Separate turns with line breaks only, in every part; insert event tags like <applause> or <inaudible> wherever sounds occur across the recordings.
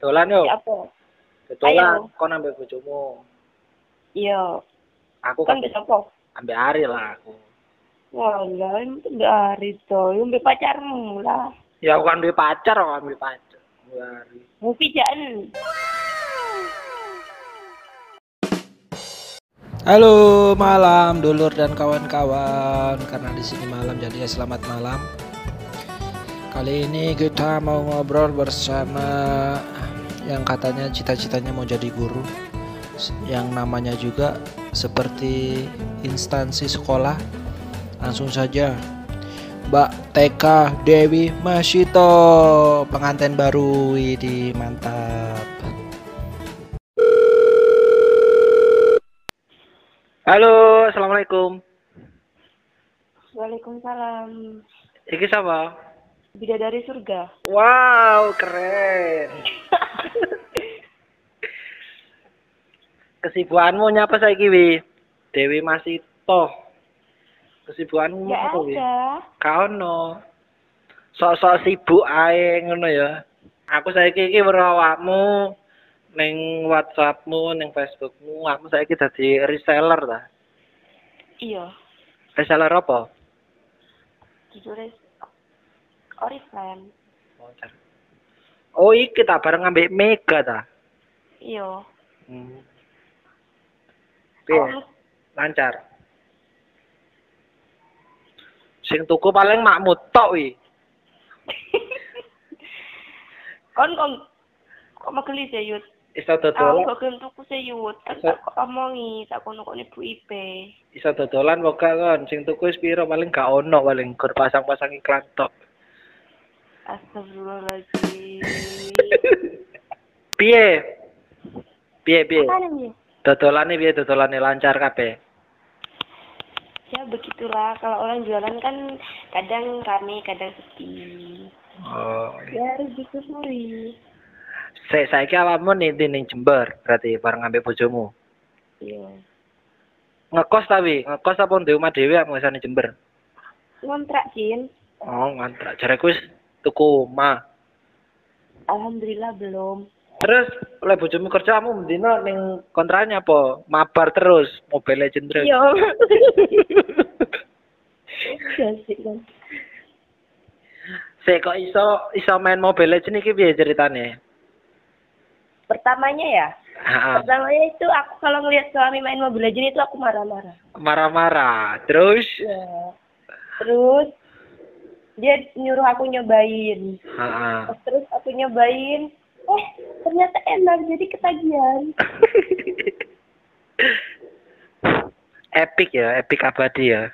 Dolan yo.
apa?
Dolan
Ya, Ayo.
kon ambek bojomu.
Iya,
Aku
kan
kan
mbek sapa?
ambek Ari lah aku.
Walah, itu mbek Ari to, yo mbek pacarmu lah.
Ya aku kan duwe pacar, aku ambek pacar. Ambek Ari.
Movie jan.
Halo malam dulur dan kawan-kawan karena di sini malam jadi ya selamat malam. Kali ini kita mau ngobrol bersama yang katanya cita-citanya mau jadi guru yang namanya juga seperti instansi sekolah. Langsung saja Mbak TK Dewi Masito pengantin baru di mantap.
Halo, assalamualaikum.
Waalaikumsalam.
Iki sama.
Bidadari surga.
Wow, keren. Kesibukanmu nyapa saiki, Wi? Dewi Masito. Kesibukanmu
Enggak
Hmm, apa, Wi?
Ya ada.
Ka ono. Sok-sok sibuk ae ngono ya. Aku saiki iki weruh awakmu ning WhatsAppmu, ning Facebookmu, aku saiki dadi reseller ta.
Iya,
Reseller apa?
judulnya Oriflame.
Oh, iki ta bareng ambek Mega ta.
Iya.
Hmm. Piye?
Awakmu
lancar. Sing tuku paling makmu tok wi.
kon kon kan kok mageli sih yut
Iso
aku
dodolan,
gak gelem tuku sih yut kan
Sa-
tak kok omongi tak kono kok ibu ipe
iso dodolan moga kon. Sing tuku wis piro paling gak ono paling gur pasang-pasang iklan tok.
astagfirullahaladzim
Piye? Piye piye?
apa namanya
Dodolane piye dodolane lancar kabeh?
ya begitulah kalau orang jualan kan kadang rame kadang sepi
Oh.
ya harus disyukuri
Saya saiki awakmu ninti ning Jember berarti bareng ambek bojomu.
iya
Ngekos ta wi? Ngekos apa ndek omah dhewe apa ngesane Jember?
ngontrak jin
Oh, ngontrak. Jareku wis tuku omah.
alhamdulillah belum
Terus oleh bojomu kerja kamu mendino ning kontranya apa? Mabar terus Mobile Legend terus.
iya Jasik kan.
Sik kok iso iso main Mobile Legend iki piye ceritane?
Pertamanya ya,
Ha,
pertamanya itu aku kalau ngelihat suami main mobil aja itu aku marah-marah.
Marah-marah. Terus
Ya. Terus dia nyuruh aku nyobain.
ha, ha.
Terus aku nyobain, eh ternyata enak jadi ketagihan.
<laughs> Epic ya, epic abadi ya.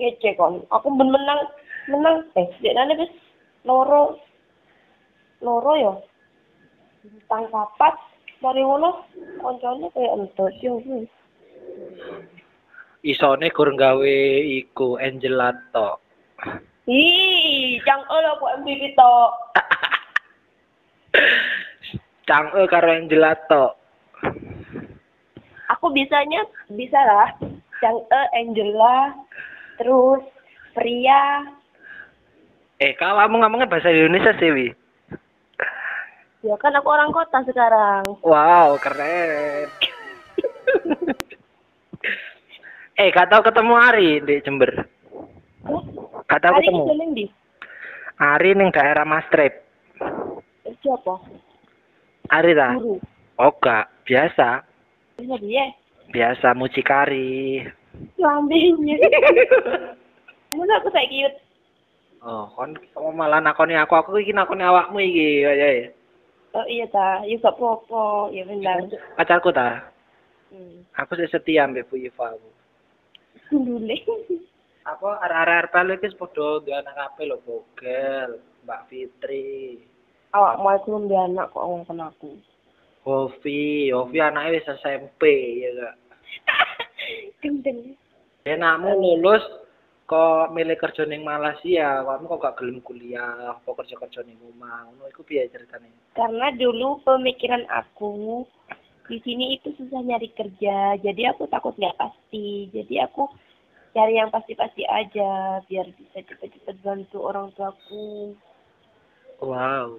Ngecek kon. Aku ben menang menang eh dia nane wis loro loro yo. Tang papat mari ngono koncone kayak ya entus yo. wih.
Isone gur gawe iku Angelato.
Ih, cang olo kok MVP tok.
Cange eh, karo Angelato.
Aku bisanya bisa lah. Cang e Angela terus Pria
Eh, kalau kamu ngomongnya bahasa Indonesia sih, Wi.
Ya kan aku orang kota sekarang.
Wow, keren. eh, gak tau ketemu Ari di Jember.
Hah?
Gak tau
Hari ini
ketemu.
jalan di
Ari ning daerah Mastrip.
Eh, siapa?
Ari ta?
Guru.
Oh, gak. Biasa.
Bisa ya? dia.
Biasa mucikari.
Lambingnya. Masa aku saya kiut.
Oh, kon kamu malah nakoni aku. Aku iki nakoni awakmu iki, kayaknya.
Oh iya ta, ya gak popo. Ya benar.
Pacarku ta.
Hmm.
Aku sih setia ambek Bu Iva.
Dule.
Aku arah-arah RPL iki sepodo di anak kabeh lho, Bogel, Mbak Fitri.
Awak mau aku di anak kok ngomong aku.
Hovi, Hovi anaknya wis SMP ya gak?
Gendeng.
Enakmu lulus kok milih kerja ning Malaysia, kamu kok gak gelem kuliah, kok kerja-kerja ning rumah, ngono iku piye ceritane?
Karena dulu pemikiran aku di sini itu susah nyari kerja, jadi aku takut nggak pasti. Jadi aku cari yang pasti-pasti aja biar bisa cepet-cepet bantu orang tuaku.
Wow.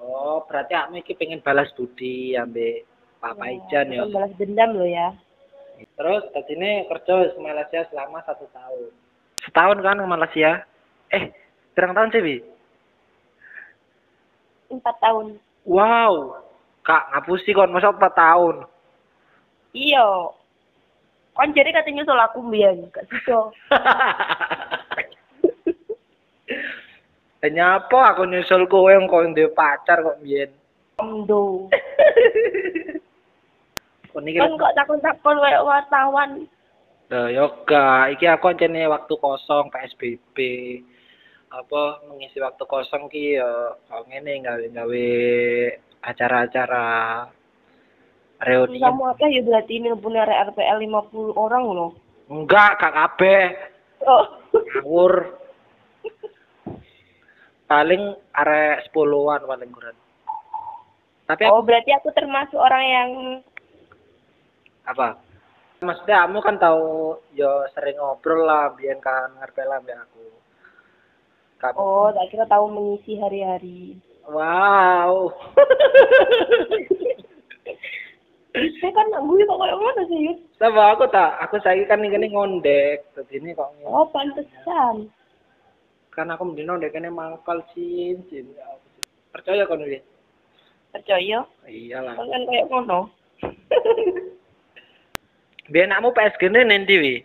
Oh, berarti aku iki pengen balas budi ambek Pak Ijan ya.
Bukan Balas dendam lo ya.
Terus tadi ini kerja di Malaysia selama satu tahun. Setahun kan ke Malaysia? Eh, berapa tahun sih, Bi?
Empat tahun.
Wow, kak ngapusi kon masa empat tahun.
Iya. Kan jadi katanya nyusul aku mbiyen, gak sido.
<laughs> Lah nyapa aku nyusul kowe engko duwe pacar kok mbiyen.
Amdo.
Kon iki
Kan kok takon-takon kayak wartawan.
Lah yo gak, iki aku ancene waktu kosong PSBB. Apa mengisi waktu kosong ki yo kok ngene gawe-gawe acara-acara reuni.
Kamu akeh ya berarti ini punya RPL 50 orang loh.
Enggak, gak kabeh.
Oh.
ngawur paling arek sepuluhan paling kurang tapi
Oh, berarti aku termasuk orang yang
apa maksudnya kamu kan tahu yo sering ngobrol lah biar kan ngerti lah mbak aku Kak-
oh, tak kira tahu mengisi hari-hari.
wow
Itu kan nak gue kok kayak ngono sih, Yud?
sama aku tak aku saya kan ini ngondek terus ini kok ngene.
Oh, pantesan.
kan aku mending ngondek ini mangkal cin cin Ya aku sih. percaya Iya kan dia iyalah
Percaya? Kan kan kayak ngono.
biar kamu PSG ini nanti wi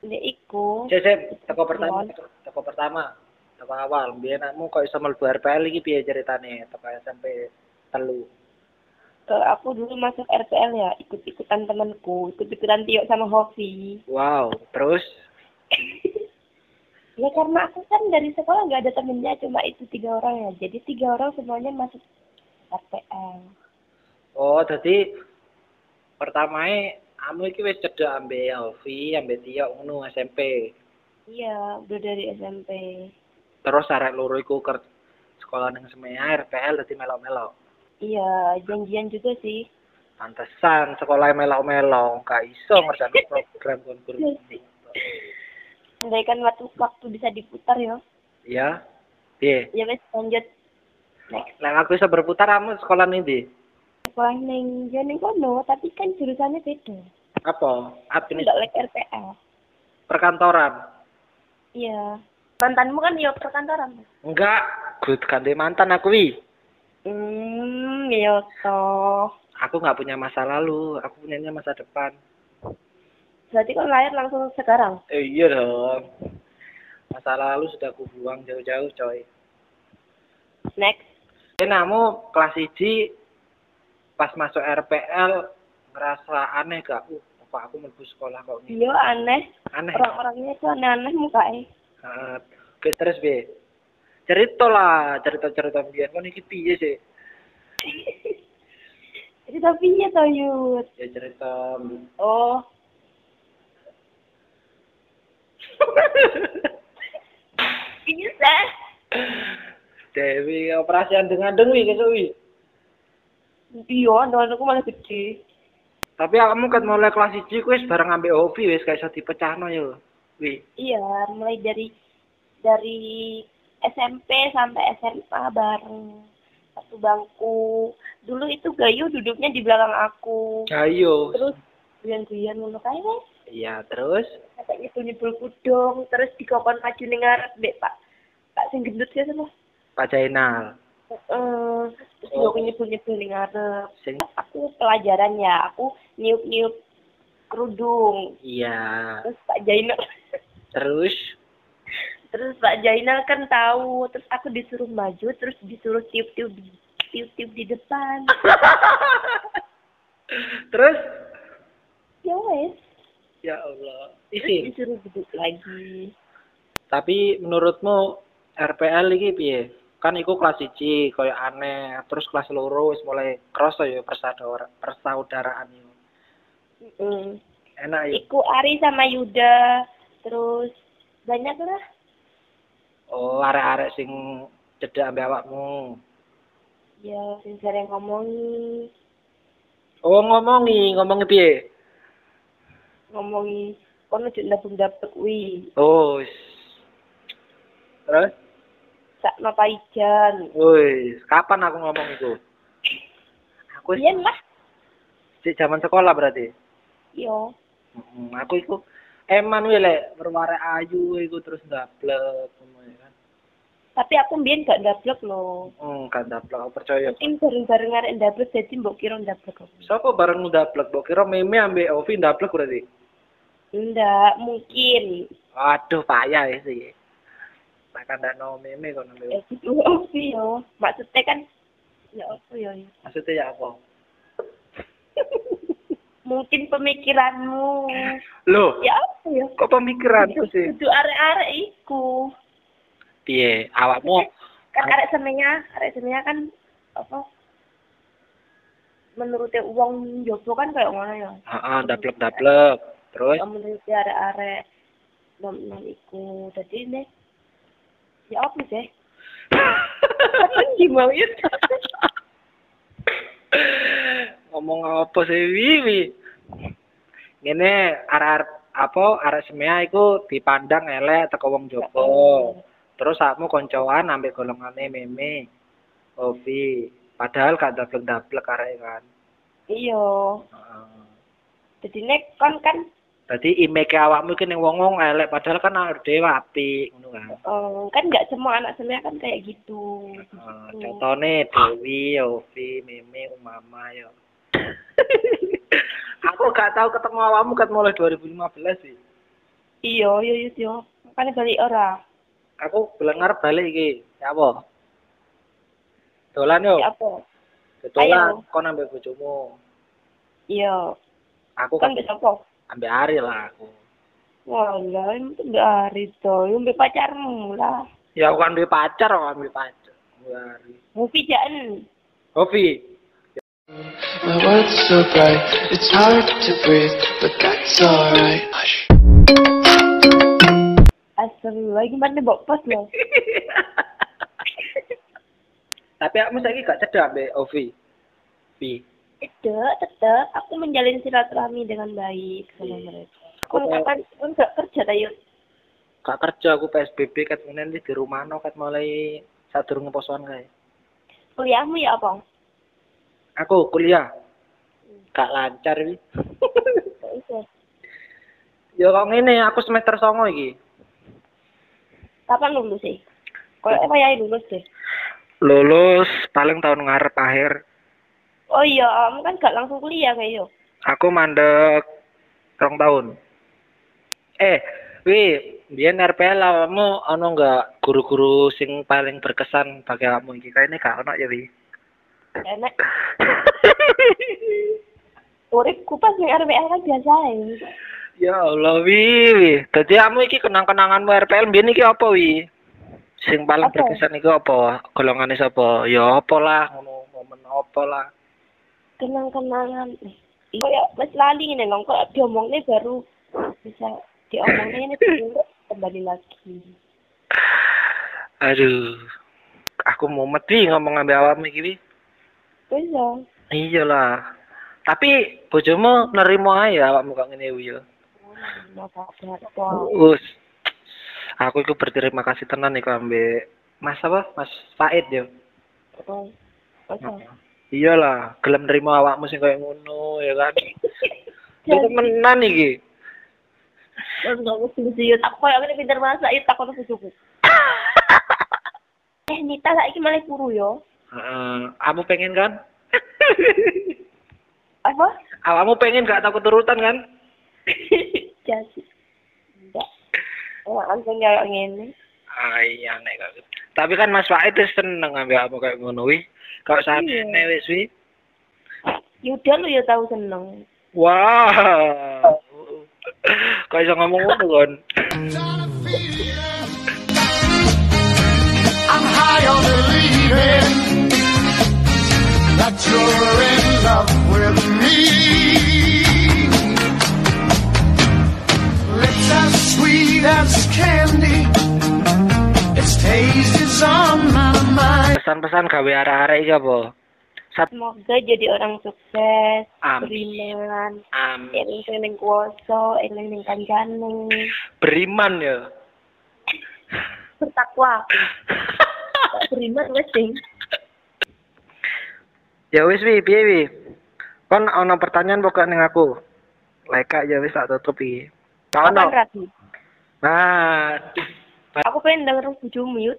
Ini iku.
Cek, cek, teko pertama, teko- teko pertama, teko awal. Biar kamu kok bisa mlebu RPL iki piye ceritane? Teko SMP telu.
Kalau Eh, aku dulu masuk RPL ya, ikut-ikutan temanku, ikut-ikutan Tio sama Hovi.
Wow, terus
Ya karena aku kan dari sekolah nggak ada temennya, cuma itu tiga orang ya. Jadi tiga orang semuanya masuk RPL.
oh dadi pertamae kamu iki wis cedhak ambe Alfi, ambe Tio ngono SMP.
Iya, udah dari SMP.
Terus arek loro iku ker sekolah ning Semea RPL dadi melok-melok.
Iya, janjian juga sih.
Pantesan sekolah melok-melok, gak iso ngerjain program konkur.
Andaikan waktu waktu bisa diputar ya.
Ya. Piye?
Ya wes lanjut next
Lah aku iso berputar kamu sekolah ndi?
sekolah neng ya, neng kono, tapi kan jurusannya beda.
Apa? Admin
Tidak lek RPL.
perkantoran.
Iya. Mantanmu kan ya perkantoran.
Enggak, gue ganti mantan aku wi.
Hmm, iya toh.
Aku nggak punya masa lalu, aku punyanya masa depan.
Berarti kan lahir langsung sekarang.
Eh, iya dong. Masa lalu sudah aku buang jauh-jauh, coy.
Next.
Eh, namu kelas 1 pas masuk RPL ngerasa aneh gak? Uh, apa aku mlebu sekolah kok ini?
Iya aneh.
Aneh.
Orang-orangnya itu aneh-aneh mukanya.
Heeh. Oke, terus Bi. Cerita lah, cerita-cerita biar kan iki piye sih?
Jadi tapi ya toh Yud.
Ya cerita
Oh. Bisa.
Dewi operasi andeng-andeng wi kesuk wi.
Iya, nonton aku malah gede.
Tapi kamu kan mulai kelas 1 ku wis bareng ambek Hobi wis gak iso dipecahno yo. Wi,
Iya, mulai dari dari SMP sampai SMA bareng satu bangku. Dulu itu Gayu duduknya di belakang aku.
ayo.
Terus guyan-guyan ngono kae wes.
Iya, terus
Katanya tuh nyebul kudung, terus dikokon maju ning ngarep Dek, Pak. Pak sing gendut ya sama.
Pak Jainal
Heeh. Terus juga aku nyebul-nyebul ning ngarep.
sing
Aku pelajaran ya, aku niup-niup kerudung.
iya.
Terus Pak Jainal <laughs>
Terus
terus Pak Jainal kan tahu, terus aku disuruh maju, terus disuruh tiup-tiup di tiup-tiup di depan.
terus
Ya wes,
ya Allah.
terus
Isi.
disuruh duduk lagi.
Tapi menurutmu RPL iki piye? Kan iku kelas 1 koyo aneh, terus kelas loro wis mulai kroso yo persaudaraan persaudaraan yo.
Mm.
Enak yo.
Iku Ari sama Yuda, terus banyak lah.
Oh, arek-arek sing cedak ambek awakmu.
Ya, sing sering ngomongi,
Oh, ngomongi, ngomongi piye?
ngomongi kono jek ndabung dapet kuwi.
Oh. s- Terus
sak napa ijan.
Woi, kapan aku ngomong itu? Aku
Iya lah.
sik zaman sekolah berarti.
Yo.
Mm, aku iku eman kuwi lek berwarna ayu iku terus ndablek ngono ya kan.
Tapi aku mbiyen gak ndablek lho.
Hmm, kan ndablek aku percaya.
Mungkin bareng-bareng arek ndablek jadi mbok kira ndablek. aku.
Sopo bareng ndablek, mbok kira meme ambek Ovi ndablek berarti.
Ndak, mungkin.
Waduh, payah ya sih. Tak kandakno meme kono ambek.
Ya Eh, gitu <laughs> apa yo. Maksudnya kan ya apa yo.
Maksudnya ya apa?
Mungkin
<laughs>
pemikiranmu.
Loh,
Ya apa yo.
kok pemikiranku sih?
Kudu arek-arek iku.
Piye, awakmu
Kan arek semenya, arek semenya kan apa? Menurutnya uang jopo kan kayak ngono ya.
heeh ndablek-ndablek. Terus
Ya menurut arek-arek nom nom iku. Dadi nek ya apa sih? Apa <laughs> gimana ya?
ngomong apa sih Wiwi? Ngene arek-arek apa arek semea iku dipandang elek teko wong Joko. Terus sakmu koncoan ambek golongane meme. Ovi. Padahal gak dablek-dablek arek kan.
Iya.
Heeh.
Jadi nek kon kan
Dadi image awakmu iki ning wong-wong elek padahal kan arek dhewe apik ngono kan.
eh, kan nggak semua anak semua kan kayak gitu.
Heeh, Contohnya Eh, Dewi, Ovi, Mimi, Umama yo. <laughs> Aku gak tahu ketemu awakmu kat mulai 2015 sih.
Iya, iya, iya, iya. Makanya balik ora.
Aku bulan ngarep balik iki. Ya apa? Dolan yo,
Ya apa?
dolan
ayo.
kon ambek bojomu.
Iya.
Aku kan
Kan bisa apa?
ambek Ari lah aku.
Walah, itu nggak hari toh. Yang pacarmu lah.
Ya aku kan duwe pacar, aku ambil pacar. Ambek Ari.
Movie jangan.
Ovi,
My world's so bright, it's hard to breathe, but that's alright. Hush.
Astagfirullah, gimana mbok pos loh?
tapi aku saiki gak cedak ambek Ovi. Vi.
Tetep, tetep. Aku menjalin silaturahmi dengan baik sama
Iya.
mereka.
Aku
Aku
kayak-
nggak kan nggak kerja tayo.
gak kerja aku PSBB kat ngene iki di rumah no kat mulai sadurunge posoan kae.
Kuliahmu ya apa?
Aku kuliah gak lancar iki.
Nggak usah.
Ya kok ngene aku semester songo iki.
Kapan lulus sih? Kalau apa ya lulus deh.
Lulus paling tahun ngarep akhir.
Oh iya, kamu kan gak langsung kuliah kayak yo.
Aku mandek rong tahun. Eh, wi, biyen RPL awakmu ono enggak guru-guru sing paling berkesan bagi kamu iki? Kayaknya gak ono ya, Wi.
Enak. Uripku pas ning RBL kan biasa ae.
Ya Allah, Wi, Wi. Dadi kamu iki kenang-kenanganmu RPL biyen iki apa, Wi? Sing paling
Apa?
berkesan iki apa? Golongane sapa? Ya apa lah ngono, momen apa lah.
Kenang-kenangan. Kok ya wis lali ngene lho, kok diomongne baru bisa diomongne ini baru kembali lagi.
Aduh. Aku mau mati ngomong ambil awakmu iki, Wi.
Terus ya.
Iyalah. Tapi bojomu nerimo ae ya awakmu kok ngene Wi, ya.
Nah, kabar apa?
Us. Aku iku berterima kasih tenan iku ambek Mas apa? Mas Faid ya.
Apa?
Iyalah, gelem nerimo awakmu sing koyo ngono ya kan. Iku menan iki.
Terus nggak mesti mesti yuk tak koyo ngene pinter banget sak yuk tak kono bojoku. <laughs> Eh Nita saiki malah kuru yo.
Heeh, kamu pengen kan?
Apa?
Awakmu pengen gak tau keturutan kan?
Jadi. Enggak. Ora Ya. langsung kayak ngene.
Ah iya nek gak gitu. Tapi kan Mas Faid wis seneng ambek awakmu koyo ngono wi. Kok
Iya.
sakjane wis wi.
Yuda lu ya tahu seneng.
Wah. Kok iso ngomong ngono kon?
I'm high on believing that you're in love with me. Lips as sweet as candy, its taste is on my mind.
Pesan-pesan gawe arek-arek iki apa? Sat
Semoga jadi orang sukses,
Amin.
beriman,
am
eling sing ning kuwasa, eling ning kancane,
beriman ya.
bertakwa. Tak beriman wes sing.
Ya wis wi, piye wi? Kon ana pertanyaan pokok ning aku. Leka ya wis tak tutup iki. Ka
Kapan
Ono.
rabi?
Nah.
kan Aku pengen denger bojomu yut.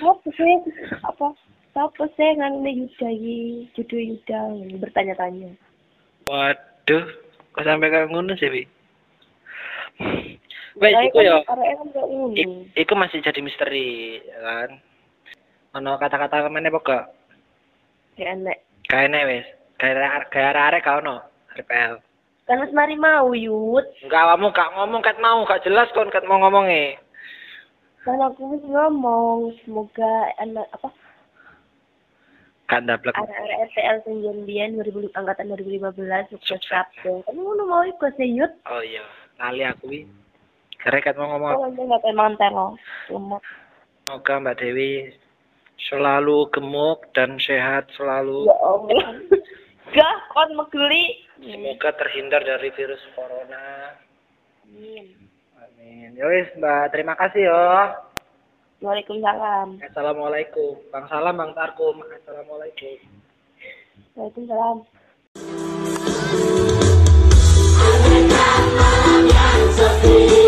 Mau sih apa? Siapa sih ngangin Yuda iki? Jodoh Yuda bertanya-tanya.
Waduh, kok sampai kayak ngono sih wi? Wes
Kayak
iku ya. Iya.
Arek kan gak ngono.
ik- Iku masih jadi misteri, ya kan? Ono kata-kata kemana pokok?
Kayak enek.
Kayaknya wis. Kayak kayak arek kau no. RPL.
Kan wis mari mau yut.
Enggak kamu gak ngomong kat mau gak jelas kon kat mau ngomongnya.
Kan aku wis ngomong semoga anak apa
Kan dablek.
arek-arek RTL sing yen biyen 2000 angkatan 2015 sukses kabeh. Kan ngono mau iku sih yut.
Oh iya, kali aku wi. Karena kat mau ngomong
Kok enggak gak pengen mangan telo. Lemot.
Semoga Mbak Dewi selalu gemuk dan sehat selalu.
Ya Allah. <laughs> Gah kon megeli.
Semoga terhindar dari virus corona.
Amin.
Amin. Yowis Mbak, terima kasih yo.
Waalaikumsalam.
Assalamualaikum. Bang Salam, Bang Tarkum. Assalamualaikum.
Waalaikumsalam.
sepi